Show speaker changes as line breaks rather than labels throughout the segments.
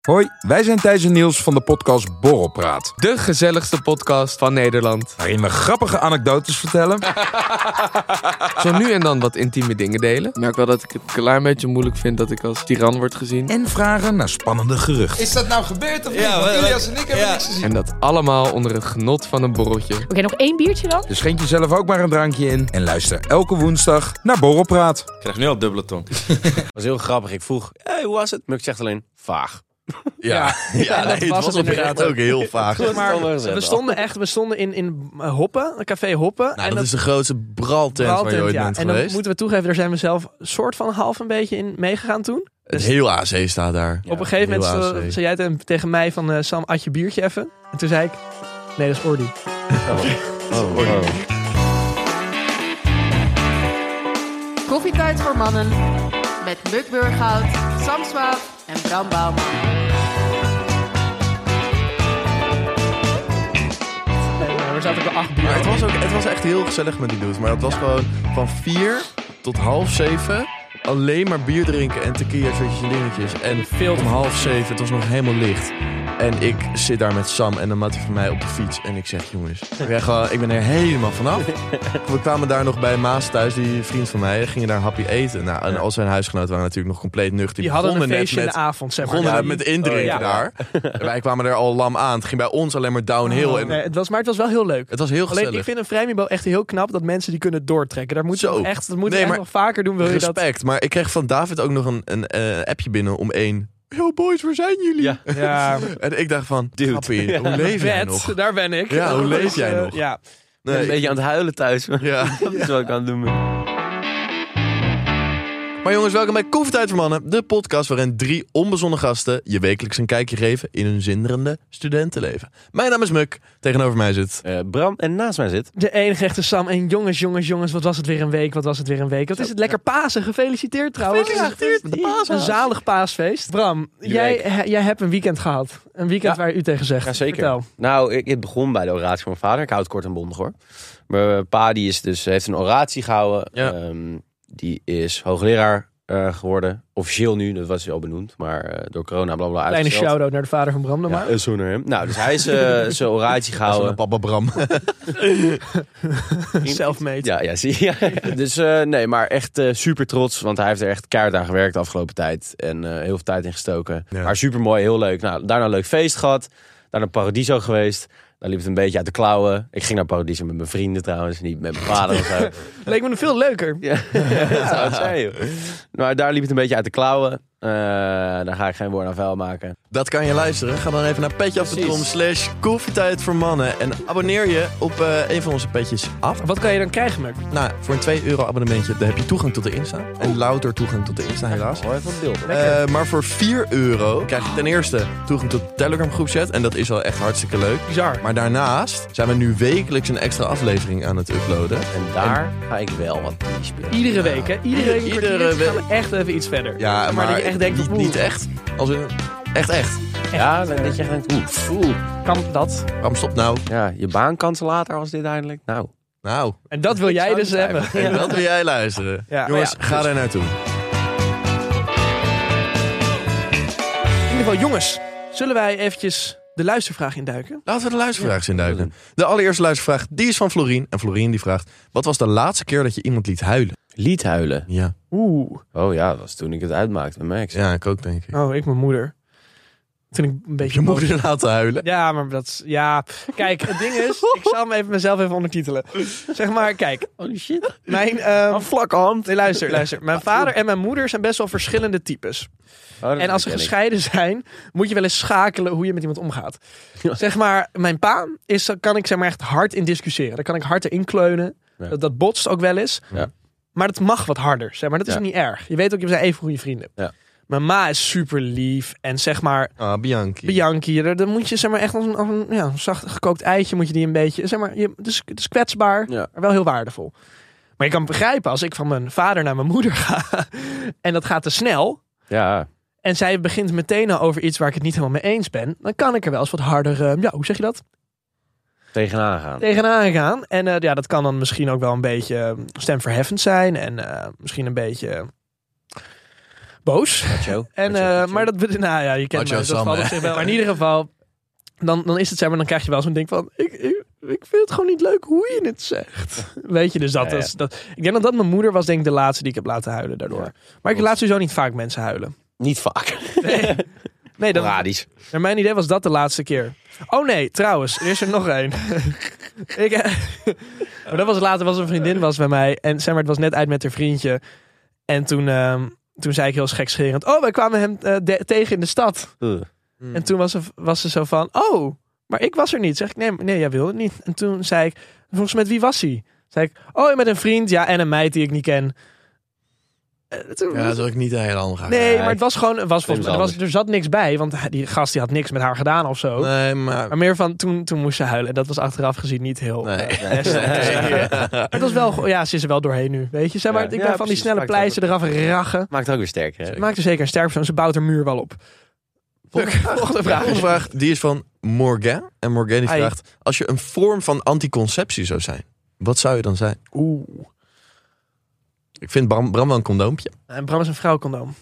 Hoi, wij zijn Thijs en Niels van de podcast Borrelpraat.
De gezelligste podcast van Nederland.
Waarin we grappige anekdotes vertellen.
Zo nu en dan wat intieme dingen delen. Ik merk wel dat ik het een klein beetje moeilijk vind dat ik als tiran word gezien.
en vragen naar spannende geruchten.
Is dat nou gebeurd of niet?
Ja,
Want
wat-
Ilias en ik hebben
ja.
niks gezien.
En dat allemaal onder het genot van een borreltje.
Oké, nog één biertje dan?
Dus schenk jezelf ook maar een drankje in. En luister elke woensdag naar Borrelpraat.
Ik krijg nu al dubbele tong. Het was heel grappig. Ik vroeg, hey, hoe was het? Muk zegt alleen, vaag.
Ja.
Ja,
dat was het inderdaad.
ook heel vaag.
Maar we stonden echt, we stonden in, in eh, Hoppen, een café Hoppen.
Nou, dat, is de grootste braltent waar je
braaltent,
ooit
ja.
bent
En dan
geweest.
moeten we toegeven, daar zijn we zelf soort van half een beetje in meegegaan toen.
Het heel AC staat daar.
dus Op een gegeven moment
heel
zo-
AC.
zei jij tegen- tegen mij van eh, Sam, at je biertje even. En toen zei ik, nee dat is Ordi.
Koffietijd voor mannen met Muk Burghout, Sam Swaap en Bram Bouwman.
En er zaten ook wel acht
Maar
bier.
het, was ook, het was echt heel gezellig met die dudes. Maar het was gewoon van vier tot half zeven alleen maar bier drinken en tequila shotjes en dingetjes. En
Veel te
om half zeven, het was nog helemaal licht. En ik zit daar met Sam en een mattie van mij op de fiets. En ik zeg, jongens, ik ben, gewoon, ik ben er helemaal vanaf. We kwamen daar nog bij Maas thuis, die vriend van mij. Gingen daar happy eten. Nou, en al zijn huisgenoten waren natuurlijk nog compleet nuchter.
Die hadden een
begonnen net
feestje in
met-
de avond, zeg maar.
begonnen
Ja,
we met
die- Oh,
indrinken
Ja.
daar. En wij kwamen er al lam aan. Het ging bij ons alleen maar downhill. en
Oh, Nee, het was, maar het was wel heel leuk.
het was heel
Alleen,
gezellig.
ik vind een vrijmibo echt heel knap dat mensen die kunnen doortrekken. Daar moet je
Zo.
nog echt, dat moet je
Nee,
echt
maar-
nog vaker doen, wil je dat.
Respect. Maar ik kreeg van David ook nog een, een eh, appje binnen om één. Yo boys, waar zijn jullie?
Ja.
Ja,
En ik dacht van, dude, hoe leef jij nog?
vet, daar ben ik.
Ja, hoe
Dus,
leef jij
eh,
nog?
Ja,
Nee.
Een beetje aan het huilen thuis. maar
Ja.
Dat is wat ik aan het doen ben.
Maar jongens, welkom bij Koffietijd voor Mannen. De podcast waarin drie onbezonnen gasten je wekelijks een kijkje geven in hun zinderende studentenleven. Mijn naam is Muk. Tegenover mij zit...
Eh, Bram, en naast mij zit...
De enige echte Sam. En jongens, jongens, jongens, wat was het weer een week? Wat was het weer een week? Wat is het lekker Pasen? Gefeliciteerd trouwens. Gefeliciteerd. Een zalig paasfeest. Bram,
Die
jij,
week.
he- jij hebt een weekend gehad. Een weekend
Ja.
waar u tegen zegt.
Jazeker.
Vertel.
Nou, ik, het begon bij de oratie van mijn vader. Ik houd het kort en bondig hoor. Mijn pa die is dus, heeft een oratie gehouden.
Ja.
Ehm, die is hoogleraar eh, geworden. Officieel nu, dat was hij al benoemd. Maar eh, door corona blablabla
Kleine
uitgesteld.
shout-out naar de vader van Bram dan
Ja,
maar.
eh, zo naar hem. Nou, dus hij is eh, zijn oratie gehouden.
Papa Bram.
Selfmade.
Ja, ja, zie je. Ja. Dus eh, nee, maar echt eh, super trots. Want hij heeft er echt keihard aan gewerkt de afgelopen tijd. En eh, heel veel tijd in gestoken.
Ja.
Maar super mooi, heel leuk. Nou, daarna een leuk feest gehad. Daarna Paradiso geweest. Daar liep het een beetje uit de klauwen. Ik ging naar Paradiso met mijn vrienden trouwens. Niet met mijn vader of zo.
Leek me nog veel leuker.
Ja, dat zou het zijn, joh. Maar daar liep het een beetje uit de klauwen. Eh, daar ga ik geen woord aan vuil maken.
Dat kan je luisteren. Ga dan even naar petjeaf.com
Precies.
slash koffietijd voor mannen. En abonneer je op eh, een van onze petjes af.
Wat kan je dan krijgen, Muk?
Nou, voor een 2 euro abonnementje daar heb je toegang tot de Insta. En louter toegang tot de Insta helaas.
Hoor even het beeld.
Eh, maar voor 4 euro krijg je ten eerste toegang tot de Telegram groepchat. En dat is al echt hartstikke leuk.
Bizar.
Maar daarnaast zijn we nu wekelijks een extra aflevering aan het uploaden.
En daar ga ik wel wat in spelen.
Iedere week, hè? Iedere week. een
Iedere
kwartiertje
week.
gaan we echt even iets verder.
Ja, maar,
dat je echt denkt,
niet,
oeh.
niet echt. Als in, echt echt.
Ja, dat dat je echt denkt, oeh, oeh.
Kan dat?
Waarom stop nou?
Ja, je baan kansen later als dit eindelijk. Nou,
Nou,
En dat wil jij
zou
dus
niet
hebben.
en dat wil jij luisteren.
Ja.
Jongens,
Ja,
ga daar naartoe.
In ieder geval, jongens. Zullen wij eventjes de luistervraag induiken?
Laten we de luistervraag eens induiken. De allereerste luistervraag, die is van Florien. En Florien die vraagt, wat was de laatste keer dat je iemand liet huilen?
lied huilen.
Ja,
Oeh.
Oh ja, dat was toen ik het uitmaakte met Max.
ja ik ook denk ik. Oh.
Oh, ik mijn moeder. Toen ik een beetje
Je
boos-
moeder laten huilen.
Ja, maar dat is... Ja, kijk, het ding is... Ik zal hem even mezelf even ondertitelen. Zeg maar, kijk.
Oh shit.
Mijn... ehm
vlakke hand.
nee, luister, luister. Mijn vader en mijn moeder zijn best wel verschillende types.
Oh,
En als ze gescheiden zijn, moet je wel eens schakelen hoe je met iemand omgaat.
Ja.
Zeg maar, mijn pa is, daar kan ik zeg maar echt hard in discussiëren. Daar kan ik hard in kleunen.
Ja.
Dat, dat botst ook wel eens.
Ja.
Maar dat mag wat harder, zeg maar. Dat is
Ja.
niet erg. Je weet ook, je zijn even goede vrienden.
Ja.
Mijn ma is super lief en zeg maar,
Ah, Bianchi.
Bianchi, daar, daar moet je zeg maar echt als een, als een ja, een zacht gekookt eitje moet je die een beetje, zeg maar, je, het, is, het is kwetsbaar,
Ja.
maar wel heel waardevol. Maar je kan begrijpen als ik van mijn vader naar mijn moeder ga en dat gaat te snel
Ja,
en zij begint meteen al over iets waar ik het niet helemaal mee eens ben, dan kan ik er wel eens wat harder, eh, ja, hoe zeg je dat,
tegenaan gaan.
tegenaan gaan. En eh, ja, dat kan dan misschien ook wel een beetje eh, stemverheffend zijn en eh, misschien een beetje boos.
Nacho.
En,
Nacho,
eh,
Nacho.
maar dat, be- nou ja, je kent
Macho
me, dat
Sam,
valt op
hè?
zich wel. Maar in ieder geval, dan, dan is het zeg maar, dan krijg je wel zo'n ding van, ik, ik, ik vind het gewoon niet leuk hoe je het zegt. Weet je, dus dat,
Ja, ja.
is- dat, ik denk dat dat mijn moeder was denk ik de laatste die ik heb laten huilen daardoor. Maar ik laat sowieso niet vaak mensen huilen.
Niet vaak.
Nee, dan,
Radisch.
naar Nou, mijn idee was dat de laatste keer. Oh nee, trouwens, er is er nog één. ik, eh, maar dat was later, was een vriendin was bij mij. En zeg maar, het was net uit met haar vriendje. En toen, ehm, toen zei ik heel gekscherend. oh, wij kwamen hem eh, de- tegen in de stad.
Ugh.
Hmm.
En toen was ze, was ze zo van, oh, maar ik was er niet. Zeg ik, nee, nee jij wilde niet. En toen zei ik, volgens met wie was hij? Zei ik, oh, met een vriend, ja, en een meid die ik niet ken. Eh, toen-
Ja, dat is ook niet een hele andere gast.
nee,
Nee.
maar het was gewoon, het was
Slim
volgens mij, er, was,
Sander.
er zat niks bij, want hij- die gast die had niks met haar gedaan of zo.
Nee, maar...
Maar meer van, toen, toen moest ze huilen. En dat was achteraf gezien niet heel...
Nee.
eh, best. Maar het was wel, go- ja, ze is er wel doorheen nu, weet je. Zeg maar,
Ja.
ik ben
Ja,
van die
precies.
snelle
Maakt het
pleisten eraf rachen.
Maakt het ook weer sterker. Hè?
Maakt er zeker een sterk persoon. Ze bouwt haar muur wel op. Volgende vraag.
Volgende vraag, die is van Morgan. En Morgan die
Hi.
vraagt, als je een vorm van anticonceptie zou zijn, wat zou je dan zijn?
Oeh.
Ik vind Bram, Bram wel een condoompje.
En Eh, Bram is een vrouwcondoom.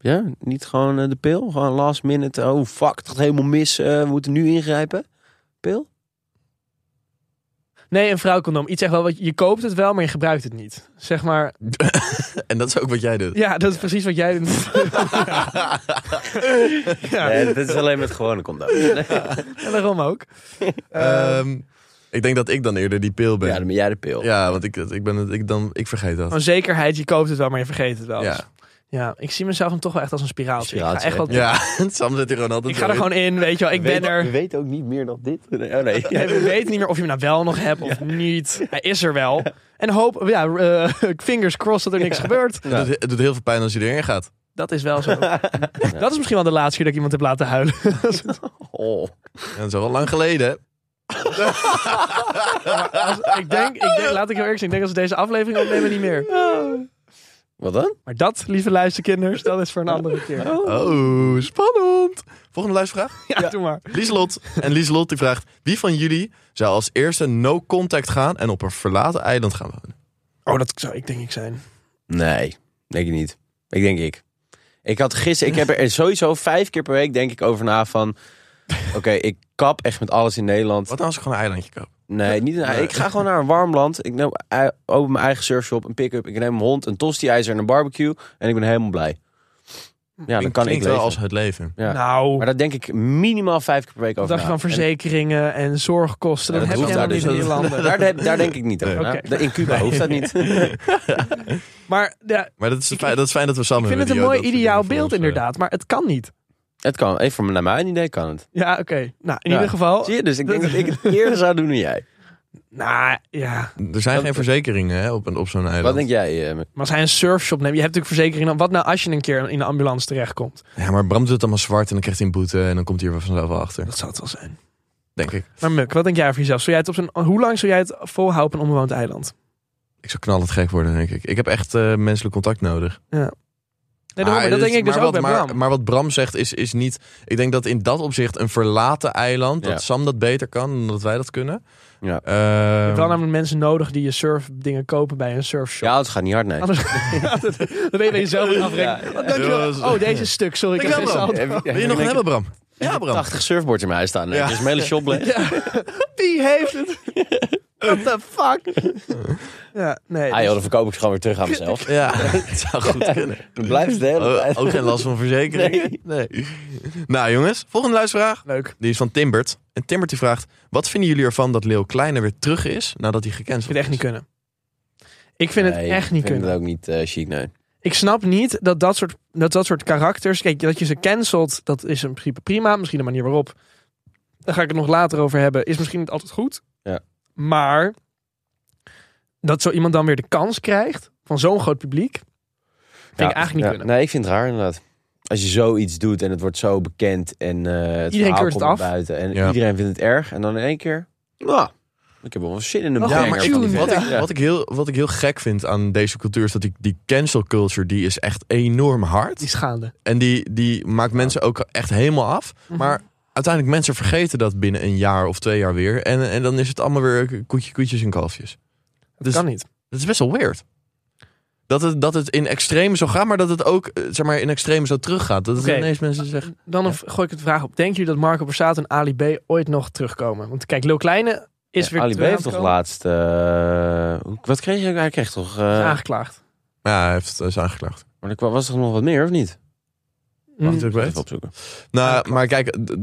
Ja, niet gewoon eh, de pil. Gewoon last minute. Oh fuck, het gaat helemaal mis. eh, we moeten nu ingrijpen. Pil?
Nee, een vrouwcondoom. Iets echt wel, wat je koopt het wel, maar je gebruikt het niet. Zeg maar,
En dat is ook wat jij doet.
ja, dat is precies wat jij doet. ja,
Nee, dit is alleen met gewone condoom. Ja,
en daarom ook.
Ehm, ik denk dat ik dan eerder die pil ben. Ja,
dan ben jij de pil.
want ik, ik, ben het, ik, dan, ik vergeet dat.
Gewoon zekerheid, je koopt het wel, maar je vergeet het wel. eens.
Ja.
Oh, ja ik zie mezelf dan toch wel echt als een spiraaltje. ik
Spiraaltje,
ga, echt wel-
Ja, Sam zit er gewoon altijd
ik ga er
zo in.
gewoon in, weet je wel. Ik ben er.
weet ook niet meer dan dit. Nee, oh nee.
Nee, we weten niet meer of je hem nou wel nog hebt of niet. Hij is er wel. En hoop, ja, eh, fingers crossed dat er niks gebeurt.
Het, doet, het doet heel veel pijn als je erin gaat.
Dat is wel zo. Dat is misschien wel de laatste keer dat ik iemand heb laten huilen. Dus
Oh.
En dat is al lang geleden. hè?
Als- ik, denk, ik denk, laat ik heel eerlijk zijn, ik denk als we deze aflevering opnemen niet meer.
Wat dan?
Maar dat, lieve luisterkinders, dat is voor een andere keer.
Oh, spannend. Volgende luistervraag.
Ja, doe maar.
Lieslot. En Lieslot die vraagt, wie van jullie zou als eerste no contact gaan en op een verlaten eiland gaan wonen?
Oh, dat zou ik denk ik zijn.
Nee, denk ik niet. Ik denk ik. Ik had gisteren, ik heb er sowieso vijf keer per week denk ik over na van... Oké, ik kap echt met alles in Nederland.
Wat nou als ik gewoon een eilandje koop?
Nee, niet naar, ik ga gewoon naar een warm land. Ik neem, ei- open mijn eigen surfshop, een pick-up. Ik neem een hond, een tosti-ijzer en een barbecue. En ik ben helemaal blij. Ja, dan
Klinkt-
kan ik
klinkt
leven.
wel als het leven.
Ja.
Nou,
Maar daar denk ik minimaal vijf keer per week
dat
over
dacht
na.
van
En-
verzekeringen en zorgkosten.
Ja,
dat,
dat
heb
hoeft
je
daar
helemaal niet
dus
in die landen.
daar, daar, daar denk ik niet over
Nee.
na.
Oké.
In Cuba hoeft dat niet.
Maar ja, ik
Maar dat is, fijn, dat is fijn dat we samen
vind het
hebben,
een
die-
mooi
dat soort
ideaal
dingen voor
beeld
ons, eh,
inderdaad. Maar het kan niet.
Het kan, even voor- naar mijn idee kan het.
Ja, oké. Nou, in
Ja.
ieder geval.
Zie je, dus ik denk dat ik het eerder zou doen dan jij.
Nou ja.
Er zijn
Dat-
geen verzekeringen hè, op, een- op zo'n eiland.
Wat denk jij? eh, Mick?
Maar als hij een surfshop neemt, je hebt natuurlijk verzekering. Dan Wat nou als je een keer in de ambulance terechtkomt?
Ja, maar Bram doet het allemaal zwart en dan krijgt hij een boete en dan komt hij er wel vanzelf wel achter.
Dat zou het wel zijn.
Denk ik.
Maar Muk, wat denk jij over jezelf? Zou jij het op een, hoe lang zou jij het volhouden op een onbewoond eiland?
Ik zou knallend gek worden, denk ik. Ik heb echt eh, menselijk contact nodig.
Nee, daarom,
Maar
dat
het-
denk ik dus
Ah, maar
ook
wat,
bij
maar,
Bram.
Maar wat Bram zegt is, is niet... Ik denk dat in dat opzicht een verlaten eiland...
Ja.
dat Sam dat beter kan dan dat wij dat kunnen.
Ja.
je
Ehm,
hebt wel namelijk mensen nodig die je surfdingen kopen bij een surfshop.
Ja, het gaat niet hard, nee.
Anders dan ben je bij jezelf in afrekening.
Ja, ja.
Oh, dankjewel.
Dus-
Oh, deze is stuk. Sorry, ik heb
Dankjewel,
deze
Bram.
hand.
wil je nog een hebben, Bram? Ja, Bram.
80 surfboards in mijn huis staan. Nee,
Ja.
Dus mijn hele shop leeg.
Wie heeft het? What the fuck? Ja, nee. dus
Ah joh, dan verkoop ik ze gewoon weer terug aan mezelf.
Ja, het zou goed kunnen.
Dan blijft het de hele
Oh,
tijd.
ook geen last van verzekeringen. Nee. Nou jongens, volgende luistervraag.
Leuk.
Die is van Timbert. En Timbert die vraagt... Wat vinden jullie ervan dat Leeuw Kleine weer terug is... nadat hij
Ik
gecanceld
vind het echt
is?
niet kunnen. Ik vind het
Nee,
echt niet
Ik vind
kunnen.
het ook niet eh, chic, nee.
Ik snap niet dat dat soort, dat dat soort karakters. Kijk, dat je ze cancelt, dat is in principe prima. Misschien de manier waarop. Daar ga ik het nog later over hebben. Is misschien niet altijd goed.
Ja.
Maar dat zo iemand dan weer de kans krijgt van zo'n groot publiek. Vind ik eigenlijk niet
ja.
kunnen.
Nee, ik vind het raar inderdaad. Als je zoiets doet en het wordt zo bekend en eh het verhaal
keurt het
komt naar
af.
buiten en
Ja.
iedereen vindt het erg en dan in één keer, nou, ik heb wel wat zin in een
Oh, Ja,
Ja,
banger
maar
Banger
van die
ik, wat,
vent.
ik, wat, ik heel, wat ik heel gek vind aan deze cultuur is dat die, die cancel culture die is echt enorm hard.
Die schaande.
En die, die maakt mensen ook echt helemaal af.
Mhm.
Maar uiteindelijk mensen vergeten dat binnen een jaar of twee jaar weer. En, en dan is het allemaal weer koetje, koetjes en kalfjes.
Dat
Dus-
kan niet.
Dat is best wel weird. dat het, dat het in extreme zo gaat, maar dat het ook eh, zeg maar, in extreme zo teruggaat. Dat het
Oké.
ineens mensen zeggen...
Dan een- gooi ik het vraag op. Denken jullie dat Marco Borsato en Ali B ooit nog terugkomen? Want kijk, Lil Kleine is weer
Ali B
terug
heeft toch
aangekomen.
laatst... eh, hoe- wat kreeg hij? Hij kreeg toch... eh,
Is Aangeklaagd.
Ja, hij heeft, eh, is aangeklaagd.
Mhm.
maar er kwa- was toch nog wat meer, of niet?
Mm.
Niet dat ik
Moet
weet.
Even opzoeken.
Nou, maar kijk, d-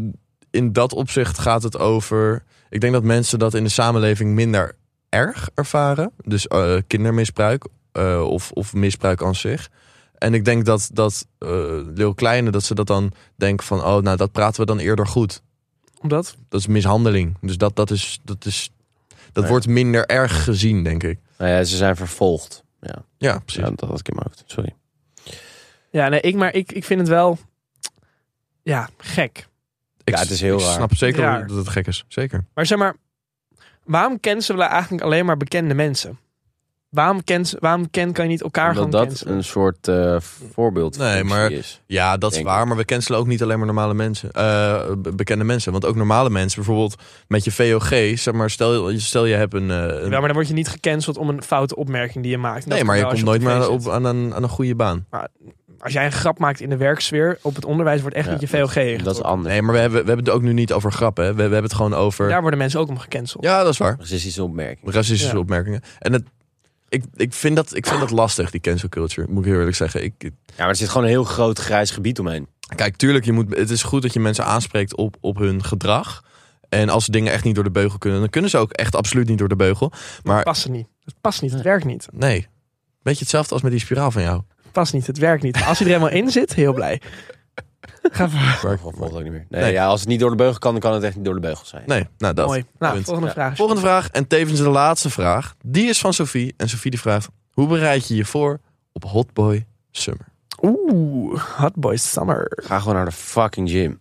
in dat opzicht gaat het over. Ik denk dat mensen dat in de samenleving minder erg ervaren. Dus eh, kindermisbruik eh, of, of misbruik aan zich. En ik denk dat, dat eh Lil Kleine, dat ze dat dan denken van, oh, nou, dat praten we dan eerder goed.
Omdat?
Dat is mishandeling. Dus dat, dat is, dat is, dat
Ja.
wordt minder erg gezien, denk ik.
Nou ja, ze zijn vervolgd. Ja,
Ja, precies.
ja dat had ik in mijn hoofd. Sorry.
Ja, nee, ik, maar ik, ik vind het wel... Ja, gek.
Ik,
Ja, het is heel
ik
raar.
snap zeker
Raar.
dat het gek is. Zeker.
Maar zeg maar, waarom cancelen eigenlijk alleen maar bekende mensen? Waarom, kent waarom ken, kan je niet elkaar
Omdat
gewoon
dat
cancelen?
een soort eh voorbeeld
Nee, maar-
is.
Ja, dat is
Denk
waar. Maar we cancelen ook niet alleen maar normale mensen. eh, be- bekende mensen. Want ook normale mensen, bijvoorbeeld met je VOG. Zeg maar, stel, stel je hebt een... eh, een-
Ja, maar dan word je niet gecanceld om een foute opmerking die je maakt. En
nee,
dat
maar je
kan wel
komt
als
nooit meer
op
aan,
tv
op- aan, een, aan een goede baan.
zit. Als jij een grap maakt in de werksfeer, op het onderwijs wordt echt
Ja,
niet je VOG ingetrokken.
Dat is anders.
Nee, maar we hebben, we hebben het ook nu niet over grappen. hè. We, we hebben het gewoon over...
Daar worden mensen ook om gecanceld.
Ja, dat is waar.
Racistische opmerking.
Racistische
Ja.
opmerkingen. En het, ik, ik, vind dat, ik vind dat lastig, die cancel culture. Moet ik heel eerlijk zeggen. Ik,
Ja, maar er zit gewoon een heel groot grijs gebied omheen.
Kijk, tuurlijk, je moet, het is goed dat je mensen aanspreekt op, op hun gedrag. En als dingen echt niet door de beugel kunnen, dan kunnen ze ook echt absoluut niet door de beugel. Maar
Dat past er niet. Het past niet, het werkt niet.
nee, beetje hetzelfde als met die spiraal van jou.
Het past niet, het werkt niet. Als hij er helemaal in zit, heel blij. Ga voor.
Dat volgt ook niet meer. Nee,
Nee.
Ja, als het niet door de beugel kan, dan kan het echt niet door de beugel zijn.
Nee, nou dat.
Mooi. Nou,
Punt.
volgende vraag.
Volgende vraag en tevens de laatste vraag. Die is van Sophie. En Sophie die vraagt, hoe bereid je je voor op Hotboy Summer?
Oeh, Hot Boy Summer.
Ga gewoon naar de fucking gym.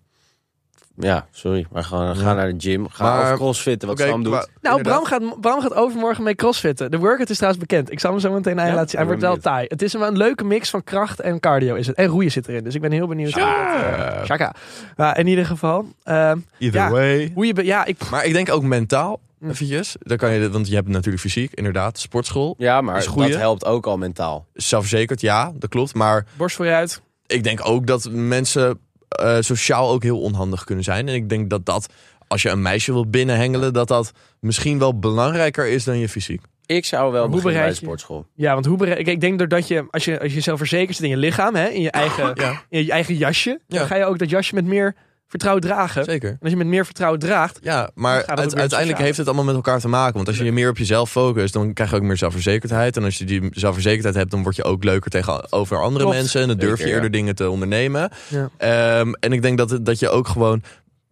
Ja, sorry. Maar gewoon, ga
Ja.
naar de gym. Ga
Maar-
of crossfitten, wat
Oké,
Sam doet.
qua-
Nou, Bram
inderdaad.
gaat, Bram gaat overmorgen mee crossfitten. De workout is trouwens bekend. Ik zal hem zo meteen aan je
Ja?
laten zien. Hij
Ik ben
wordt wel
benieuwd.
taai. Het is een, een leuke mix van kracht en cardio is het. En roeien zit erin, dus ik ben heel benieuwd.
Ja.
Shaka. Maar in ieder geval. ehm,
Either
Ja.
way.
hoe je... be- Ja, ik...
Maar ik denk ook mentaal, eventjes. Dan kan je, want je hebt natuurlijk fysiek, inderdaad, sportschool.
Ja, maar
Is goeie.
dat helpt ook al mentaal.
Zelfverzekerd, ja, dat klopt. Maar
Borst vooruit.
ik denk ook dat mensen eh, sociaal ook heel onhandig kunnen zijn. En ik denk dat dat, als je een meisje wil binnenhengelen, dat dat misschien wel belangrijker is dan je fysiek.
Ik zou wel
hoe
beginnen bij de
bereid je-
sportschool.
Ja, want hoe bere- ik, ik denk doordat je als, je, als je zelfverzekerd zit in je lichaam, hè, in, je eigen,
Ja.
in je eigen jasje,
Ja.
dan ga je ook dat jasje met meer vertrouwen dragen.
Zeker.
En als je met meer vertrouwen draagt,
Ja,
Dan
maar
gaat het ook weer
uit-
het
uiteindelijk
sociale.
heeft het allemaal met elkaar te maken. Want als je je meer op jezelf focust, dan krijg je ook meer zelfverzekerdheid. En als je die zelfverzekerdheid hebt, dan word je ook leuker tegenover andere
Klopt.
mensen. En dan durf je
Zeker, ja.
eerder dingen te ondernemen.
Ja.
Ehm, en ik denk dat, het- dat je ook gewoon...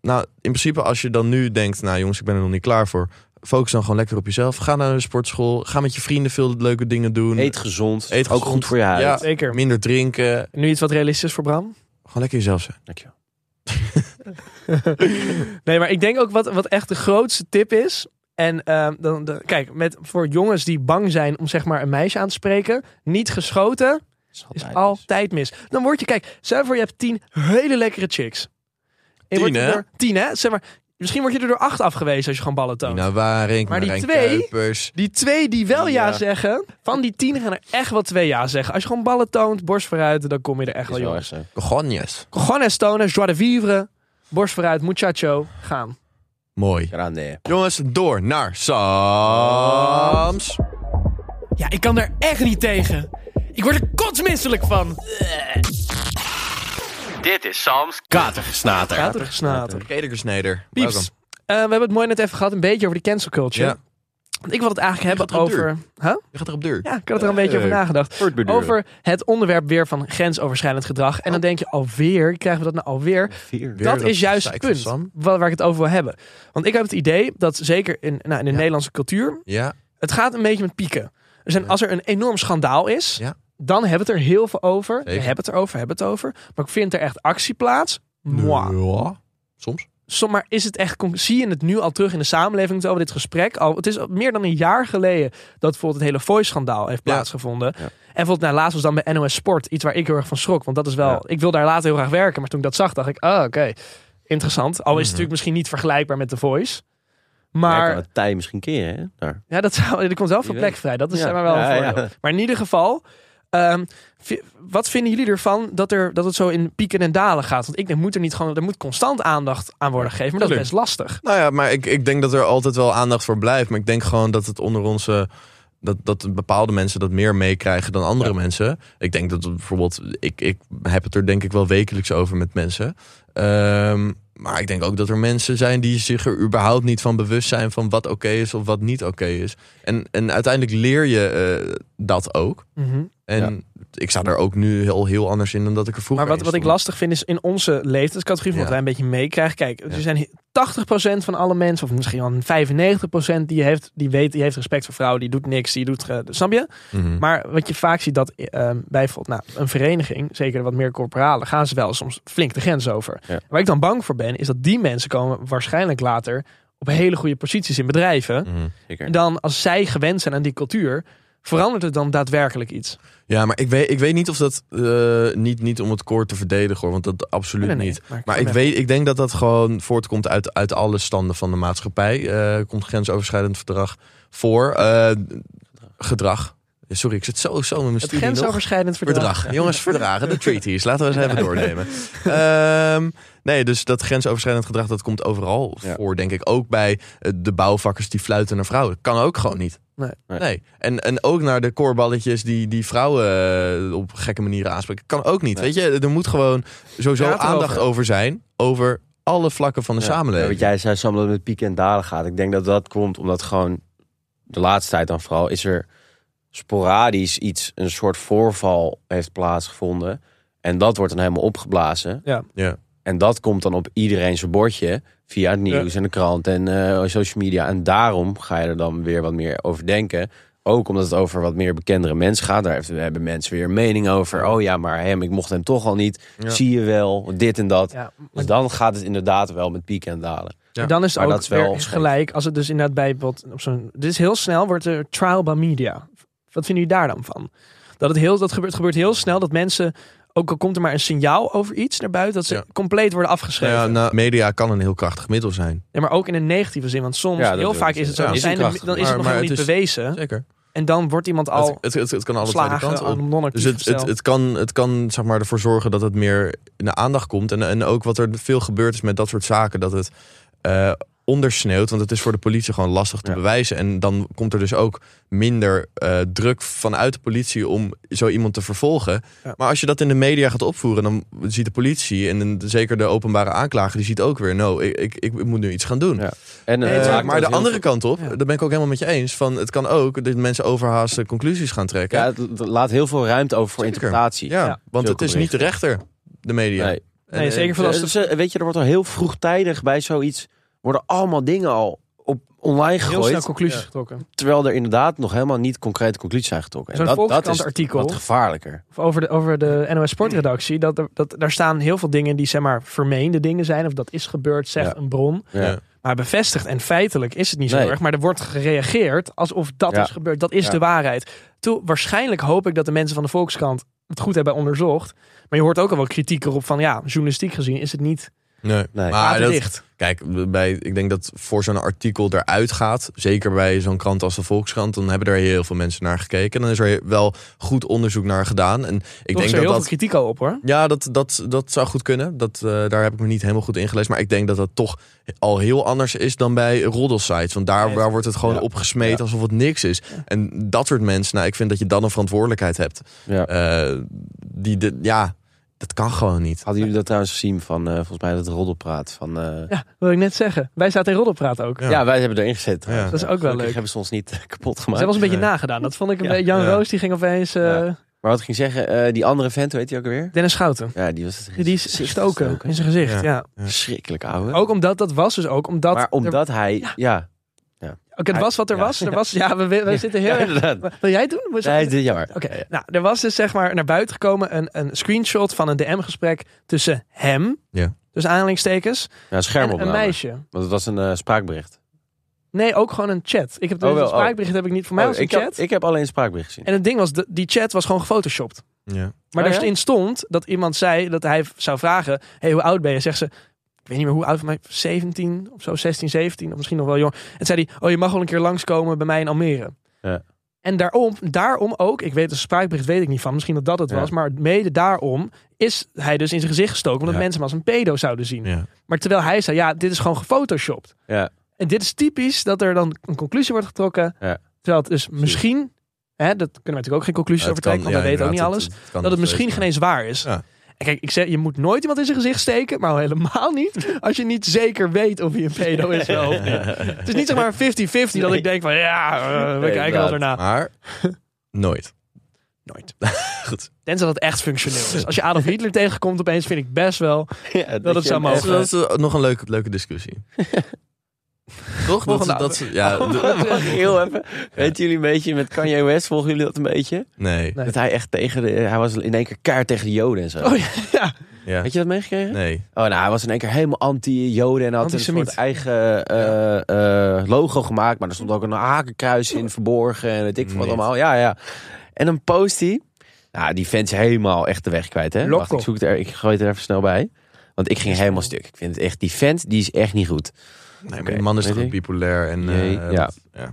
Nou, in principe als je dan nu denkt, nou jongens, ik ben er nog niet klaar voor. Focus dan gewoon lekker op jezelf. Ga naar de sportschool. Ga met je vrienden veel leuke dingen doen.
Eet gezond.
Eet
Ook
gezond.
goed voor je huid.
Ja.
zeker.
Minder drinken.
Nu iets wat realistisch voor Bram.
Gewoon lekker jezelf zijn.
Dankjewel.
Nee, maar ik denk ook wat, wat echt de grootste tip is. En ehm, dan, dan- kijk, met, voor jongens die bang zijn om zeg maar een meisje aan te spreken, niet geschoten
Is
is
altijd mis.
altijd mis. Dan word je, kijk, stel je voor je hebt tien hele lekkere chicks. En je wordt
Tien, hè?
er- Tien, hè? Zeg maar, misschien word je er door acht afgewezen als je gewoon ballen toont.
Nou.
Nina Waring,
Maar die
Marijn
twee-
Kuipers.
Die twee die wel ja,
Ja.
zeggen, van die tien gaan er echt wel twee ja zeggen. Als je gewoon ballen toont, borst vooruit, dan kom je er echt
Is
wel,
wel
jongens.
echt zo.
Cogonjes.
Gewoon eens tonen, joie de vivre, borst vooruit, muchacho, gaan.
Mooi.
Grande.
Jongens, door naar Sams.
Ja, ik kan er echt niet tegen. Ik word er kotsmisselijk van.
Dit is Sam's
Katergesnater.
Katergesnater.
Kedergesneder.
Pieps. Eh, we hebben het mooi net even gehad, een beetje over de cancel culture.
Ja.
Want ik wil het eigenlijk hebben
Gaat het
over... Huh?
Je gaat er op duur.
Ja, ik had er een beetje over nagedacht.
beduren.
Over het onderwerp weer van grensoverschrijdend gedrag. En dan denk je alweer, krijgen we dat nou alweer?
Oh. Weer
dat is juist het
gezeik van
punt
Sam.
waar, waar ik het over wil hebben. Want ik heb het idee dat zeker in, nou, in de Nederlandse cultuur,
Ja,
het gaat een beetje met pieken. Er zijn, Als er een enorm schandaal is,
Ja.
dan hebben we het er heel veel over. We
Zeker.
hebben het erover, hebben het over. Maar vindt er echt actie plaats? Moi.
Ja, soms.
Som, maar is het echt, conc- zie je het nu al terug in de samenleving over dit gesprek? Al, het is al meer dan een jaar geleden dat bijvoorbeeld het hele voice-schandaal heeft
Ja.
plaatsgevonden. En bijvoorbeeld, nou, laatst was dan bij NOS Sport iets waar ik heel erg van schrok. Want dat is wel, ik wil daar later heel graag werken. Maar toen ik dat zag, dacht ik, ah, oké, interessant.
Mhm.
Al is het natuurlijk misschien niet vergelijkbaar met de voice.
Maar...
Maar
kan het tij misschien keren, hè? Daar.
ja, dat zou, er komt wel veel
Wie
plek
weet.
vrij. Dat is
Ja.
zeg maar wel een
Ja, ja.
voordeel. Maar in ieder geval, Ehm, vi- wat vinden jullie ervan dat, er, dat het zo in pieken en dalen gaat? Want ik denk, moet er niet gewoon, er moet constant aandacht aan worden gegeven. Maar dat is best lastig.
Nou ja, maar ik, ik denk dat er altijd wel aandacht voor blijft. Maar ik denk gewoon dat het onder onze. Dat, dat bepaalde mensen dat meer meekrijgen dan andere mensen. Ik denk dat het bijvoorbeeld. Ik, ik heb het er denk ik wel wekelijks over met mensen. Ehm, maar ik denk ook dat er mensen zijn die zich er überhaupt niet van bewust zijn. van wat oké is of wat niet oké is. En, en uiteindelijk leer je eh, dat ook. En ik sta er ook nu heel, heel anders in dan dat ik er vroeger
Maar wat,
in
wat ik
stond.
lastig vind is in onze leeftijdscategorie, van wat
Ja.
wij een beetje meekrijgen. Kijk,
Ja.
er zijn he- 80% van alle mensen, of misschien wel 95% die heeft, die weet, die heeft respect voor vrouwen, die doet niks, die doet, eh, snap je?
Mhm.
Maar wat je vaak ziet dat eh, bij bijvoorbeeld nou, een vereniging, zeker wat meer corporalen, gaan ze wel soms flink de grens over.
Ja.
Waar ik dan bang voor ben, is dat die mensen komen waarschijnlijk later op hele goede posities in bedrijven.
Mhm.
Zeker.
En dan als zij gewend zijn aan die cultuur, verandert het dan daadwerkelijk iets.
Ja, maar ik weet, ik weet niet of dat. eh, niet, niet om het koor te verdedigen hoor, want dat absoluut
Nee, nee,
niet.
nee,
Maar ik, weet, ik denk dat dat gewoon voortkomt uit, uit alle standen van de maatschappij. Eh, komt grensoverschrijdend verdrag voor. eh, gedrag. Sorry, ik zit zo, zo met mijn
Het
studie nog.
grensoverschrijdend verdrag.
Verdrag. Jongens, verdragen. De treaties. Laten we eens even doornemen. Ehm, nee, dus dat grensoverschrijdend gedrag dat komt overal
Ja.
voor, denk ik. Ook bij eh, de bouwvakkers die fluiten naar vrouwen. Kan ook gewoon niet.
Nee.
Nee.
En, en ook naar de koorballetjes die, die vrouwen eh, op gekke manieren aanspreken. Kan ook niet.
Nee.
Weet je, er moet gewoon sowieso
Praat erover.
aandacht over. zijn. Over alle vlakken van de
Ja. Ja,
samenleving.
wat jij zei, Sam, dat het met pieken en dalen gaat. Ik denk dat dat komt omdat gewoon de laatste tijd dan vooral is er sporadisch iets, een soort voorval heeft plaatsgevonden. En dat wordt dan helemaal opgeblazen.
Ja.
Ja.
En dat komt dan op iedereen zijn bordje via het nieuws en de krant en eh, social media. En daarom ga je er dan weer wat meer over denken. Ook omdat het over wat meer bekendere mensen gaat. Daar heeft- hebben mensen weer een mening over. Oh ja, maar hem, ik mocht hem toch al niet.
Ja.
Zie je wel, dit en dat.
Ja, maar
Dus dan gaat het inderdaad wel met pieken en dalen.
Ja,
dan is het
maar
ook
dat is wel
weer
scheef.
gelijk als het dus inderdaad bij bijvoorbeeld op zo'n. Dit is heel snel wordt er trial by media. Wat vinden jullie daar dan van? Dat het heel dat gebeurt, gebeurt heel snel dat mensen ook al komt er maar een signaal over iets naar buiten dat ze
Ja.
compleet worden
Nou
afgeschreven.
ja, nou, media kan een heel krachtig middel zijn.
Ja, maar ook in een negatieve zin, want soms
Ja, dat
heel
wil
vaak
ik
is het zo.
zeggen.
dan
Ja,
zijn
is
er-
een
dan is het
kracht.
nog
Maar- maar
helemaal niet
het is-
bewezen
Zeker.
en dan wordt iemand al
Het, het, het, het kan alle twee
geslagen,
kanten op.
al non-actief
Dus het, het,
gesteld.
het kan, het kan zeg maar, ervoor zorgen dat het meer in de aandacht komt. En, en ook wat er veel gebeurd is met dat soort zaken. Dat het eh, ondersneeuwt. Want het is voor de politie gewoon lastig te
Ja.
bewijzen. En dan komt er dus ook minder eh, druk vanuit de politie om zo iemand te vervolgen.
Ja.
Maar als je dat in de media gaat opvoeren, dan ziet de politie. En dan zeker de openbare aanklager, die ziet ook weer. No, ik, ik, ik moet nu iets gaan doen.
Ja. En,
Nee,
eh,
het is
Eh,
ook-
maakt
maar de
dat heel
andere kant op,
Ja.
daar ben ik ook helemaal met je eens. Van, het kan ook dat mensen overhaaste conclusies gaan trekken.
Ja, het het laat heel veel ruimte over voor
Zeker.
interpretatie.
Ja,
Ja.
want het
Zulke
is niet de rechter, de media.
Nee.
En-
Nee,
en-
zeker voor
Eh,
als de-
ze- weet je, er wordt al heel vroegtijdig bij zoiets... worden allemaal dingen al op online
heel snel
gegooid...
conclusies getrokken.
terwijl er inderdaad nog helemaal niet concrete conclusies zijn getrokken.
Zo'n
En dat, dat is
Volkskrant-artikel.
wat gevaarlijker.
Of over de, over de NOS Sportredactie. Dat, er- dat, daar staan heel veel dingen die zeg maar vermeende dingen zijn. Of dat is gebeurd, zegt
Ja.
een bron.
Ja.
Ja.
Maar bevestigd en feitelijk is het niet zo
Nee.
erg. Maar er wordt gereageerd alsof dat
Ja.
is gebeurd. Dat is
Ja.
de waarheid. Toen, waarschijnlijk hoop ik dat de mensen van de Volkskrant het goed hebben onderzocht. Maar je hoort ook al wel kritiek erop van... ja, journalistiek gezien is het niet
Nee.
Nee.
Maar dat-
waterdicht.
kijk, bij, ik denk dat voor zo'n artikel eruit gaat, zeker bij zo'n krant als de Volkskrant, dan hebben er heel veel mensen naar gekeken. Dan is er wel goed onderzoek naar gedaan. En ik
Toch is
denk
er
dat
heel
dat
veel kritiek al op hoor.
Ja, dat, dat, dat zou goed kunnen. Dat, eh, daar heb ik me niet helemaal goed in gelezen. Maar ik denk dat dat toch al heel anders is dan bij roddelsites. Want daar,
Nee,
daar wordt het gewoon
ja.
opgesmeed
Ja.
alsof het niks is. En dat soort mensen, nou, ik vind dat je dan een verantwoordelijkheid hebt.
Ja.
Eh, die de, ja, dat kan gewoon niet.
Hadden jullie dat trouwens gezien van, eh, volgens mij, dat roddelpraat? Van, eh, ja.
Ja, wil ik net zeggen. Wij zaten in Roddelpraat ook.
Ja.
wij hebben erin gezet. trouwens.
Dat is ook wel
Gelukkig
leuk.
hebben ze ons niet eh, kapot
Ze
gemaakt.
hebben ons een beetje
Nee.
nagedaan. Dat vond ik een
eh, Ja.
beetje... Jan
Ja.
Roos die ging opeens... eh,
Ja. Maar wat ik ging zeggen, eh, die andere vent, hoe heet die ook alweer?
Dennis Schouten.
Ja, die was het
Die is gestoken, in zijn gezicht, ja.
Schrikkelijk ouwe.
Ook omdat, dat was dus ook omdat...
maar
er-
omdat hij... Ja,
Oké, het was wat er
Ja.
was. Er was ja, we, we zitten heel
Ja,
erg...
inderdaad.
Wil jij het doen? Wil je-
Nee, dit- ja, maar-
Oké,
Ja, ja.
nou, er was dus zeg maar naar buiten gekomen een, een screenshot van een DM-gesprek tussen hem,
Ja.
dus aanhalingstekens,
Ja, een
en een
schermopname.
meisje.
Want het was een eh, spraakbericht.
Nee, ook gewoon een chat. Ik heb
Oh,
dus
wel,
het
oh.
spraakbericht heb ik niet voor mij
Oh,
was
ik,
een
Heb,
chat.
ik heb alleen een spraakbericht gezien.
En het ding was, de- die chat was gewoon gefotoshopt.
Ja.
Maar
Oh, ja?
daarin stond dat iemand zei dat hij v- zou vragen: hey, hoe oud ben je? Zegt ze: Ik weet niet meer hoe oud, maar 17 of zo, 16, 17 of misschien nog wel jong. En zei hij: Oh, je mag wel een keer langskomen bij mij in Almere.
Ja.
En daarom, daarom ook, ik weet een spraakbericht weet ik niet van, misschien dat dat het
Ja.
was, maar mede daarom is hij dus in zijn gezicht gestoken, omdat
Ja.
mensen hem als een pedo zouden zien.
Ja.
Maar terwijl hij zei, ja, dit is gewoon gefotoshopt.
Ja.
En dit is typisch dat er dan een conclusie wordt getrokken,
Ja.
terwijl het dus misschien, hè, dat kunnen we natuurlijk ook geen conclusies over trekken, want we weten ook niet alles, dat het misschien geen eens waar is.
Ja.
En kijk, ik zeg, je moet nooit iemand in zijn gezicht steken, maar al helemaal niet als je niet zeker weet of hij een pedo is wel of niet. Het is niet zeg maar 50-50 dat ik denk van, ja, eh, we
Nee,
kijken wel
inderdaad.
ernaar.
Maar nooit.
Nooit.
Goed.
Tenzij dat echt functioneel is. Als je Adolf Hitler tegenkomt opeens, vind ik best wel.
Ja,
Dat het
je
zou
hem
mogen.
Dat is eh, nog een leuke, leuke discussie. Toch? Dat, ze- dat, ze- ja,
Oh.
de-
echt- Mag ik heel even? Weten jullie een beetje met Kanye West? Volgen jullie dat een beetje?
nee.
Nee.
Dat hij echt tegen de. Hij was in één keer kaart tegen de Joden en zo.
Oh ja, ja.
Ja.
Had je dat meegekregen?
Nee.
Oh, nou, hij was in één keer helemaal anti-Joden en had een
Antisemiet.
soort eigen eh, eh, logo gemaakt. Maar er stond ook een hakenkruis in verborgen en weet ik veel wat
Niet.
allemaal. Ja, ja. En dan post hij. Nou, die fans helemaal echt de weg kwijt, hè?
Loco.
Wacht, ik zoek het er, ik gooi het er even snel bij. Want ik ging helemaal stuk. Ik vind het echt, die vent, die is echt niet goed.
nee maar die man is
weet
toch ook
ik.
bipolair en... eh,
Jee, ja.
dat- ja.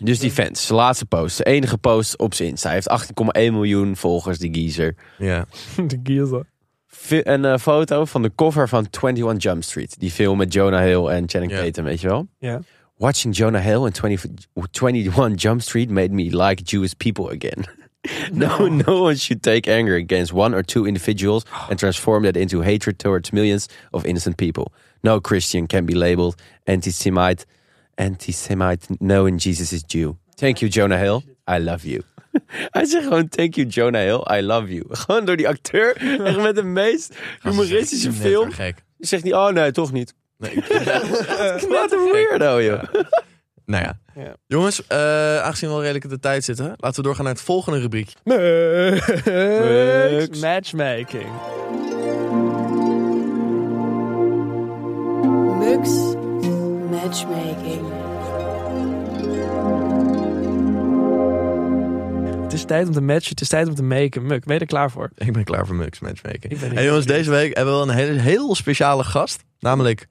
Dus die fans, zijn laatste post, de enige post op zijn Insta. Hij heeft 8,1 miljoen volgers, die geezer.
Ja.
De Gielsen.
Vi- Een eh, foto van de cover van 21 Jump Street. Die film met Jonah Hill en Channing
Ja.
Tatum, weet je wel?
Ja.
Watching Jonah Hill in 20, 21 Jump Street made me like Jewish people again. no, no one should take anger against one or two individuals and transform that into hatred towards millions of innocent people. No Christian can be labeled anti-Semite. Anti-Semite knowing Jesus is Jew. Thank you Jonah Hill. I love you. Hij zegt gewoon thank you Jonah Hill. I love you. Gewoon door die acteur. Echt met de meest humoristische
Net
film.
weer gek.
Zegt hij, oh nee, toch niet.
Nee, ik-
Wat een weirdo, joh.
nou ja.
Ja.
Jongens, eh, aangezien we al redelijk op de tijd zitten, laten we doorgaan naar het volgende rubriek.
Mux. Matchmaking.
Mux Matchmaking.
Het is tijd om te matchen, het is tijd om te maken. Muk, ben je er klaar voor?
Ik ben klaar voor Mux Matchmaking.
Ik ben niet
En jongens, deze week hebben we wel een hele, heel speciale gast. Namelijk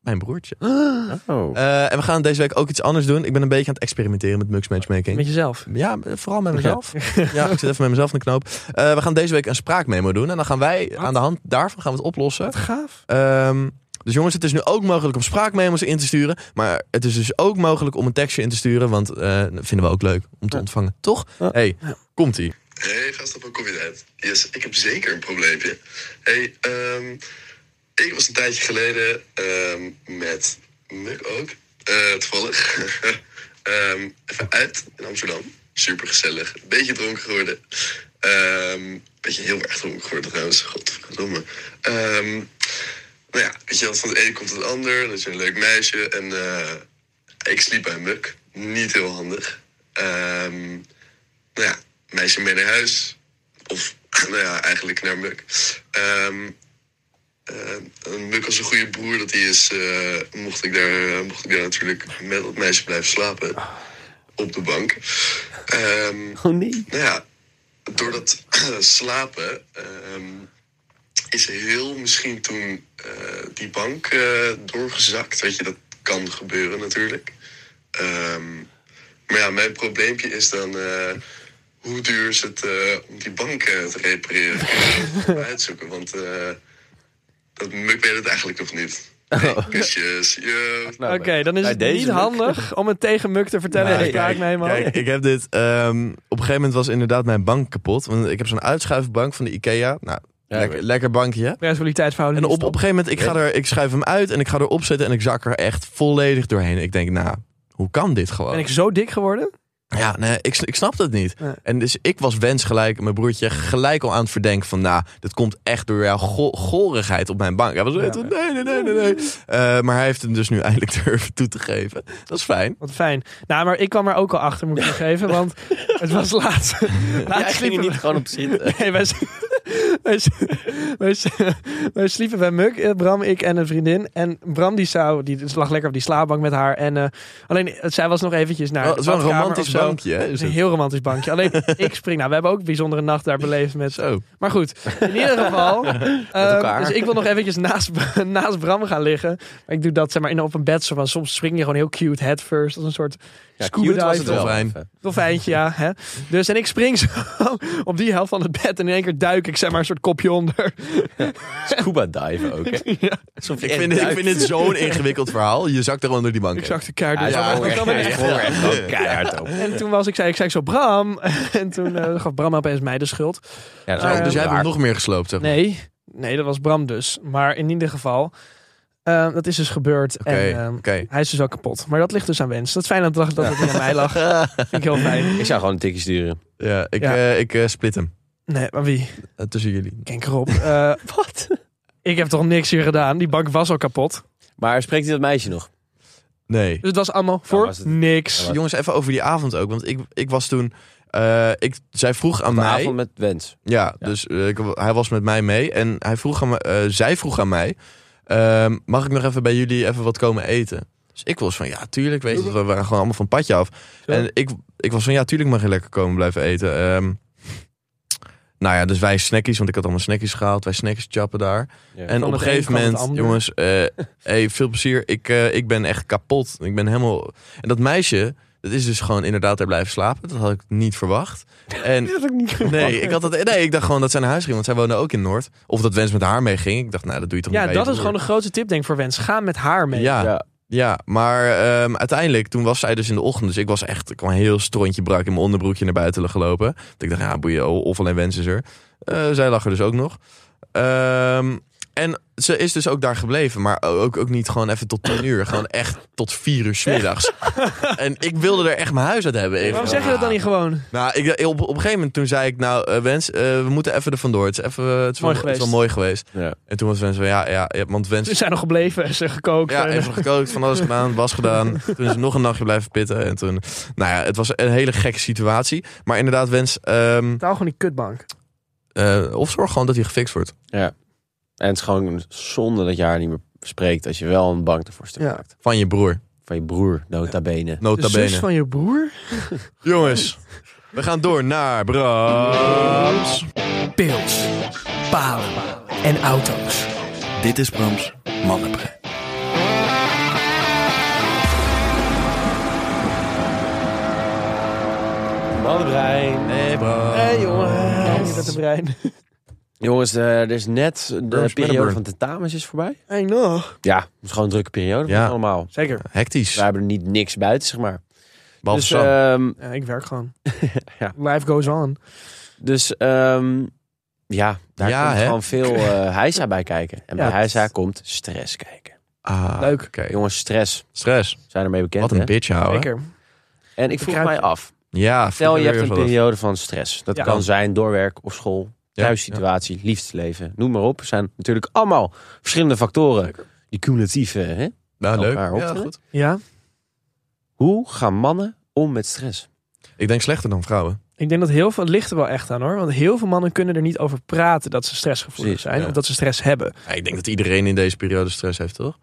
mijn broertje.
Oh.
Eh, en we gaan deze week ook iets anders doen. Ik ben een beetje aan het experimenteren met Mux Matchmaking.
Met jezelf.
Ja, vooral met mezelf. Ja, ik zit even met mezelf in de knoop. Eh, we gaan deze week een spraakmemo doen. En dan gaan wij aan de hand daarvan gaan we het oplossen.
Wat gaaf.
Ehm, dus jongens, het is nu ook mogelijk om spraakmemo's in te sturen. Maar het is dus ook mogelijk om een tekstje in te sturen. Want eh, dat vinden we ook leuk om te ontvangen. Toch? hey, komt-ie.
Hey, gast op een koffietijd. Yes, ik heb zeker een probleempje. Hey, ehm, ik was een tijdje geleden ehm, met Muk ook, eh, toevallig, ehm, even uit in Amsterdam. Super gezellig. Beetje dronken geworden. Ehm beetje heel erg dronken geworden trouwens. Godverdomme. Ehm nou ja, weet je wel, van het een komt het ander. Dat is een leuk meisje. En eh, ik sliep bij Muk. Niet heel handig. Ehm nou ja, meisje mee naar huis. Of, nou ja, eigenlijk naar Muk. Ehm eh, Muk als een goede broer dat hij is, eh, mocht, ik daar, eh, mocht ik daar natuurlijk met dat meisje blijven slapen. Op de bank. Ehm
Oh nee.
nou ja, door dat slapen ehm, is heel misschien toen eh, die bank eh, doorgezakt. Weet je, dat kan gebeuren natuurlijk. Ehm, maar ja, mijn probleempje is dan... eh, hoe duur is het eh, om die bank eh, te repareren? Ik kan het even uitzoeken, want... eh, dat, ik weet het eigenlijk nog niet. Hey, kusjes. Yo.
Oké, dan is
bij
het
deze
niet
Muk.
handig om het tegen Muk te vertellen.
Nou,
Nee,
kijk,
spraakmemo.
Kijk, ik heb dit. ehm, op een gegeven moment was inderdaad mijn bank kapot. Want ik heb zo'n uitschuifbank van de Ikea. Nou,
Ja,
lekker, lekker bankje. En
Responsabiliteitsverhouding.
op, op een gegeven moment, ik, ga er, ik schuif hem uit en ik ga erop zitten en ik zak er echt volledig doorheen. Ik denk, nou, hoe kan dit gewoon?
Ben ik zo dik geworden?
Ja, nee, ik, s- ik snap dat niet.
Nee.
En dus ik was wensgelijk, mijn broertje, gelijk al aan het verdenken van... nou, dat komt echt door jouw go- gorigheid op mijn bank. Hij was echt, nee, nee, nee, nee, nee. Eh, maar hij heeft hem dus nu eindelijk durven toe te geven. Dat is fijn.
Wat fijn. Nou, maar ik kwam er ook al achter, moet ik geven, want het was laat. laat
Jij ging er
sliepen we-
niet gewoon op zitten.
Nee, wij, Wij, s- wij, s- wij sliepen bij Muk, eh, Bram, ik en een vriendin. En Bram die zou, die dus lag lekker op die slaapbank met haar. En eh, alleen, eh, zij was nog eventjes naar
Wel- het
de
is wel een
badkamer
romantisch
of zo.
bankje, hè? Is
Het is
het?
een heel romantisch bankje. Alleen ik spring. Nou, we hebben ook een bijzondere nacht daar beleefd. Met,
Zo.
Maar goed, in ieder geval. ehm,
elkaar.
dus ik wil nog eventjes naast, naast Bram gaan liggen. Maar ik doe dat zeg maar, in, op een bed. zo van soms spring je gewoon heel cute head first. Als een soort
Ja,
scuba
cute was het
dive.
wel.
Dolfijn.
even.
Dolfijntje, ja. Hè? Dus en ik spring zo op die helft van het bed. En in één keer duik ik zeg maar een soort kopje onder.
Scuba dive ook, hè? Alsof je
Ik
echt
vind, ik
duikt.
vind dit zo'n ingewikkeld verhaal. Je zakt er gewoon door die bank.
Ik
heen.
zag de kaart.
Ja,
dus-
ja,
maar-
echt,
maar-
hij sprong er echt gewoon keihard op.
En toen was ik, zei, ik zei zo, Bram. En toen eh, gaf Bram opeens mij de schuld.
Ja, dat is
Zo,
ook
dus jij hebt hem
raar.
nog meer gesloopt, zeg maar.
Nee, nee, dat was Bram dus. Maar in ieder geval, eh, dat is dus gebeurd.
Oké,
En ehm,
oké.
hij is dus wel kapot. Maar dat ligt dus aan wens. Dat is fijn dat, dat dat het niet aan mij lag. Vind ik heel fijn.
Ik zou gewoon een tikje sturen.
Ja, ik,
Ja.
eh, ik eh, split hem.
Nee, maar wie?
Eh, tussen jullie.
Kenkerop. Eh Wat? Ik heb toch niks hier gedaan? Die bank was al kapot.
Maar spreekt hij dat meisje nog?
Nee.
Dus het was allemaal voor
was het-
niks.
Ja,
Jongens, even over die avond ook. Want ik, ik was toen... eh, ik, zij vroeg aan
Een
mij...
avond met Wens.
Ja,
Ja.
dus eh, ik, hij was met mij mee en hij vroeg aan, me- eh, zij vroeg aan mij: ehm, Mag ik nog even bij jullie even wat komen eten? Dus ik was van ja, tuurlijk, weet je, we waren gewoon allemaal van het padje af. En ik, ik was van ja, tuurlijk mag je lekker komen blijven eten. Ehm, nou ja, dus wij snackies, want ik had allemaal snackies gehaald, wij snackies chappen daar.
Ja.
En
Van
op een
het
gegeven
een kwam het
moment,
ander.
jongens, eh, hey, veel plezier. Ik, eh, ik ben echt kapot. Ik ben helemaal. En dat meisje, dat is dus gewoon inderdaad daar blijven slapen. Dat had ik niet verwacht. En Nee, ik had dat, nee, ik dacht gewoon dat zij naar huis ging, want zij woonde ook in Noord. Of dat Wens met haar mee ging. Ik dacht, nou, dat doe je toch
Ja,
niet bij
dat
je
is gewoon
broer.
een grote tip denk ik voor Wens. Ga met haar mee.
Ja, ja.
Ja.
maar ehm, uiteindelijk, toen was zij dus in de ochtend. Dus ik was echt, ik kwam heel strontje brak in mijn onderbroekje naar buiten gelopen. Want ik dacht, ja, boeien, oh, of alleen Wens is er. Eh, zij lag er dus ook nog. Ehm, en ze is dus ook daar gebleven, maar ook, ook niet gewoon even tot 10 uur. Gewoon echt tot vier uur 's middags. en ik wilde er echt mijn huis uit hebben. even.
Waarom zeg je dat dan niet gewoon?
Nou, ik, op, op een gegeven moment toen zei ik, nou eh, Wens, eh, we moeten even er vandoor. Het is, even, eh, het is, wel,
Mooi
het is wel
geweest.
mooi geweest.
Ja.
En toen was Wens van, ja, ja, ja, want
Ze
Wens...
zijn nog gebleven, ze zijn gekookt.
Ja,
eh,
even gekookt, van alles gedaan, was gedaan. Toen is nog een nachtje blijven pitten. En toen, nou ja, het was een hele gekke situatie. Maar inderdaad, Wens, ehm,
Taal gewoon die kutbank.
eh, of zorg gewoon dat hij gefixt wordt.
En het is gewoon zonde dat je haar niet meer spreekt als je wel een bank ervoor stuk
Ja.
maakt.
Van je broer,
Van je broer, nota bene.
nota
De zus
bene.
van je broer?
Jongens, we gaan door naar Brams.
Pils, palen en auto's.
Dit is Brams Mannenbrein.
Mannenbrein.
Nee, Brams.
Hé jongen, je bent een brein.
Jongens, eh, er is net de
Burns
periode
Middelburg.
van tentamens is voorbij.
I know.
Ja, het is gewoon een drukke periode.
Ja.
Ja. Allemaal.
Zeker.
Hectisch,
We hebben er niet niks buiten, zeg maar.
behalve
dus
Sam.
eh,
ehm,
Ja, ik werk gewoon.
Ja.
Life goes on.
dus ehm, ja, daar
Ja,
komt
hè?
gewoon veel eh heisa bij kijken. En
Ja,
bij
dat-
heisa komt stress kijken. Nou,
Ah,
Leuk.
oké.
Jongens, stress.
Stress,
Zijn ermee bekend,
wat een
hè?
bitch houden.
Zeker.
En ik vroeg
Bekruip
mij
je.
af.
Ja,
Stel, je
vroeger
hebt een
was dat.
periode van stress. Dat
Ja.
kan zijn door werk of school,
Ja,
thuissituatie, liefdesleven. Noem maar op. Er zijn natuurlijk allemaal verschillende factoren. Die cumulatieve, hè?
Nou, leuk. Ja,
elkaar optillen.
goed.
Ja,
Hoe gaan mannen om met stress?
Ik denk slechter dan vrouwen.
ik denk dat heel veel, het ligt er wel echt aan hoor. Want heel veel mannen kunnen er niet over praten dat ze stressgevoelig
Precies,
zijn.
ja.
Of dat ze stress hebben.
ik denk dat iedereen in deze periode stress heeft, toch?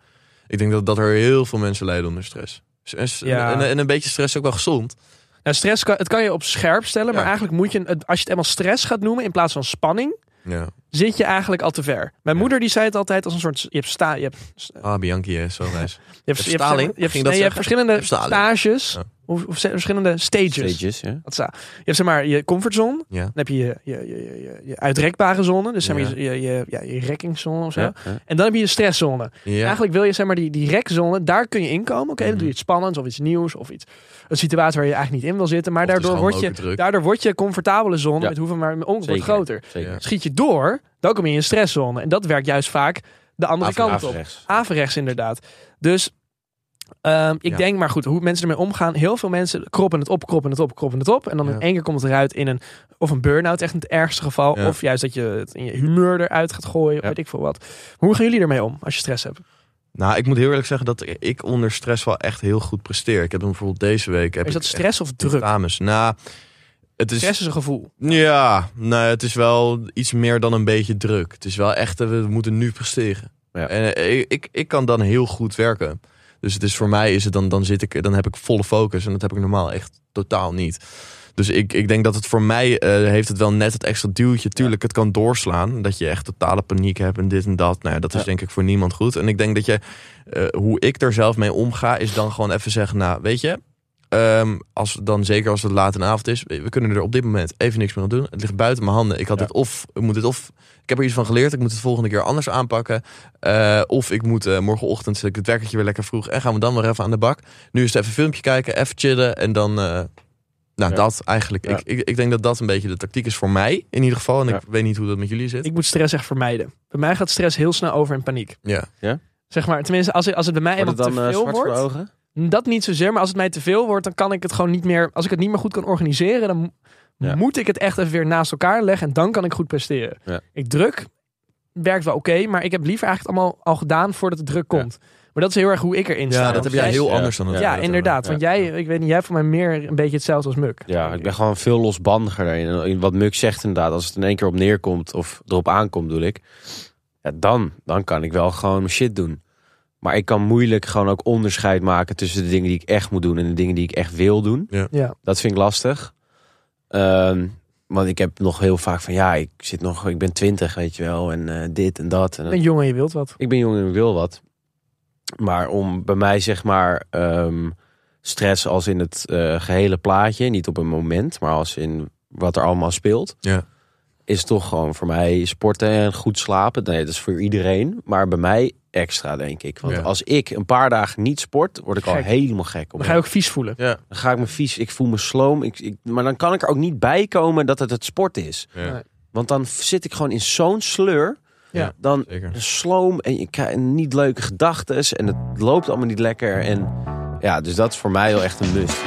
Ik denk dat, dat er heel veel mensen lijden onder stress. S- En, s-
Ja.
en, en een beetje stress is ook wel gezond.
Nou, stress kan, het kan je op scherp stellen, maar
Ja.
eigenlijk moet je, het- als je het eenmaal stress gaat noemen in plaats van spanning,
Ja.
zit je eigenlijk al te ver. Mijn
Ja.
moeder die zei het altijd als een soort, je hebt, sta, je hebt,
Ah, Bianchi is zo wijs.
je hebt, je hebt,
Staling?
je hebt,
Ging dat
nee, je hebt
zeggen?
verschillende
Je hebt Staling.
stages,
Ja.
of, of ze- verschillende stages.
Stages, ja.
Dat sta- je hebt zeg maar je comfortzone,
Ja.
dan heb je je, je, je, je- je- je uitrekbare zone, dus zeg
Ja.
maar je, je, je, ja, je rekkingszone of zo.
Ja, ja.
En dan heb je je stresszone.
Ja. Mhm.
Eigenlijk wil je zeg maar die, die rekzone, daar kun je inkomen. Oké, dan doe je iets spannends of iets nieuws of iets. Een situatie waar je eigenlijk niet in wil zitten. Maar
Of het is
daardoor
gewoon
word, je,
mokerdruk.
daardoor word je comfortabele zone
Ja.
met hoeveel maar on- wordt
Zeker,
groter.
Zeker.
Ja.
Schiet je door, dan kom je in je stresszone. En dat werkt juist vaak de andere
Aver-
kant op.
averechts.
Averechts inderdaad. Dus ehm, ik
Ja.
denk maar goed, hoe mensen ermee omgaan. Heel veel mensen kroppen het op, kroppen het op, kroppen het op. En dan
Ja.
in één keer komt het eruit in een, of een burn-out, echt in het ergste geval.
Ja.
Of juist dat je het in je humeur eruit gaat gooien, of
Ja.
weet ik veel wat. Hoe gaan jullie ermee om als je stress hebt?
Nou, ik moet heel eerlijk zeggen dat ik onder stress wel echt heel goed presteer. Ik heb hem bijvoorbeeld deze week... Heb
Is dat
ik
stress of druk?
Dames, nou, Het is,
Stress is een gevoel.
ja, nou, het is wel iets meer dan een beetje druk. Het is wel echt, eh, we moeten nu presteren.
Ja.
En eh, ik, ik kan dan heel goed werken. Dus het is voor mij is het dan, dan zit ik, dan heb ik volle focus. En dat heb ik normaal echt totaal niet. Dus ik, ik denk dat het voor mij eh, heeft het wel net het extra duwtje. Tuurlijk, het kan doorslaan. Dat je echt totale paniek hebt en dit en dat. Nou ja, dat is
Ja.
denk ik voor niemand goed. En ik denk dat je, eh, hoe ik er zelf mee omga, is dan gewoon even zeggen, nou, weet je, Ehm, als, dan zeker als het laat in de avond is. We we kunnen er op dit moment even niks meer aan doen. Het ligt buiten mijn handen. Ik had
Ja.
dit of ik moet dit of. Ik heb er iets van geleerd. Ik moet het volgende keer anders aanpakken. Eh, of ik moet eh, morgenochtend zet ik het werkertje weer lekker vroeg. En gaan we dan weer even aan de bak. Nu is het even een filmpje kijken, even chillen. En dan. eh, nou,
Ja.
dat eigenlijk.
Ja.
Ik, ik, ik denk dat dat een beetje de tactiek is voor mij. In ieder geval. En
Ja.
ik weet niet hoe dat met jullie zit.
Ik moet stress echt vermijden. Bij mij gaat stress heel snel over in paniek.
ja.
Zeg maar, tenminste, als, als het bij mij
Wordt
helemaal
het dan
te
eh,
veel
zwart voor de
wordt.
ogen?
Dat niet zozeer, maar als het mij te veel wordt, dan kan ik het gewoon niet meer. Als ik het niet meer goed kan organiseren, dan
Ja.
moet ik het echt even weer naast elkaar leggen en dan kan ik goed presteren.
Ja.
Ik druk, werkt wel oké, maar ik heb liever eigenlijk het allemaal al gedaan voordat de druk komt. Maar dat is heel erg hoe ik erin sta.
ja, dat
Want
heb jij
jij-
heel
Ja.
anders dan het.
Ja, inderdaad.
ja.
Want jij, ik weet niet, jij hebt voor mij meer een beetje hetzelfde als Muk.
Ja, ik ben gewoon veel losbandiger daarin. En in Wat Muk zegt inderdaad, als het in één keer op neerkomt of erop aankomt, bedoel ik. Ja, dan, dan kan ik wel gewoon mijn shit doen. Maar ik kan moeilijk gewoon ook onderscheid maken tussen de dingen die ik echt moet doen en de dingen die ik echt wil doen.
Ja.
Dat vind ik lastig. Ehm, want ik heb nog heel vaak van ja, ik zit nog, ik ben twintig, weet je wel, en eh, dit en dat. En
Je
dat-
bent jong en je wilt wat.
ik ben jong en ik wil wat. Maar om bij mij zeg maar ehm, stress als in het eh, gehele plaatje, niet op een moment, maar als in wat er allemaal speelt,
Ja.
is toch gewoon voor mij sporten en goed slapen. Nee, dat is voor iedereen, maar bij mij extra denk ik. Want
Ja.
als ik een paar dagen niet sport, word ik al
Gek.
helemaal gek. Op
Dan ga je ook vies voelen.
Ja.
dan ga ik me vies, ik voel me sloom. Ik, ik, maar dan kan ik er ook niet bij komen dat het het sport is.
Ja.
Nee.
Want dan zit ik gewoon in zo'n sleur.
Ja.
Dan
Zeker.
sloom en je krijgt niet leuke gedachten. En het loopt allemaal niet lekker. En ja, dus dat is voor mij wel echt een must.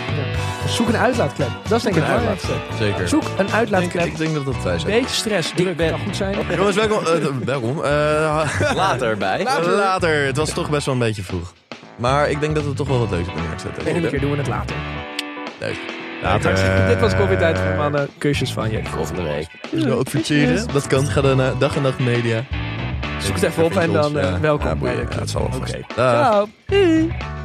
Zoek een uitlaatklep. Dat is denk ik
een
het belangrijkste.
Zeker.
Zoek een
Ik,
uitlaatklep.
ik denk dat dat wij zijn.
Beetje stress, druk,
ben-
kan goed zijn.
Jongens, welkom. eh, welkom. Eh,
Later bij.
Later. Het was toch best wel een beetje vroeg. Maar ik denk dat we toch wel wat leuks hebben neergezet. hè?
Volgende keer doen we het later.
Leuk.
Hartstikke goed. Dit was Koffietijd voor Mannen. Kusjes van je.
Volgende week.
Dus nou ook verteren. Dat kan. Ga dan naar Dag en Nacht Media.
Zoek het even op en dan eh, welkom bij de
Ja, het zal wel
Oké.
vast. Dag.
Ciao. Doei.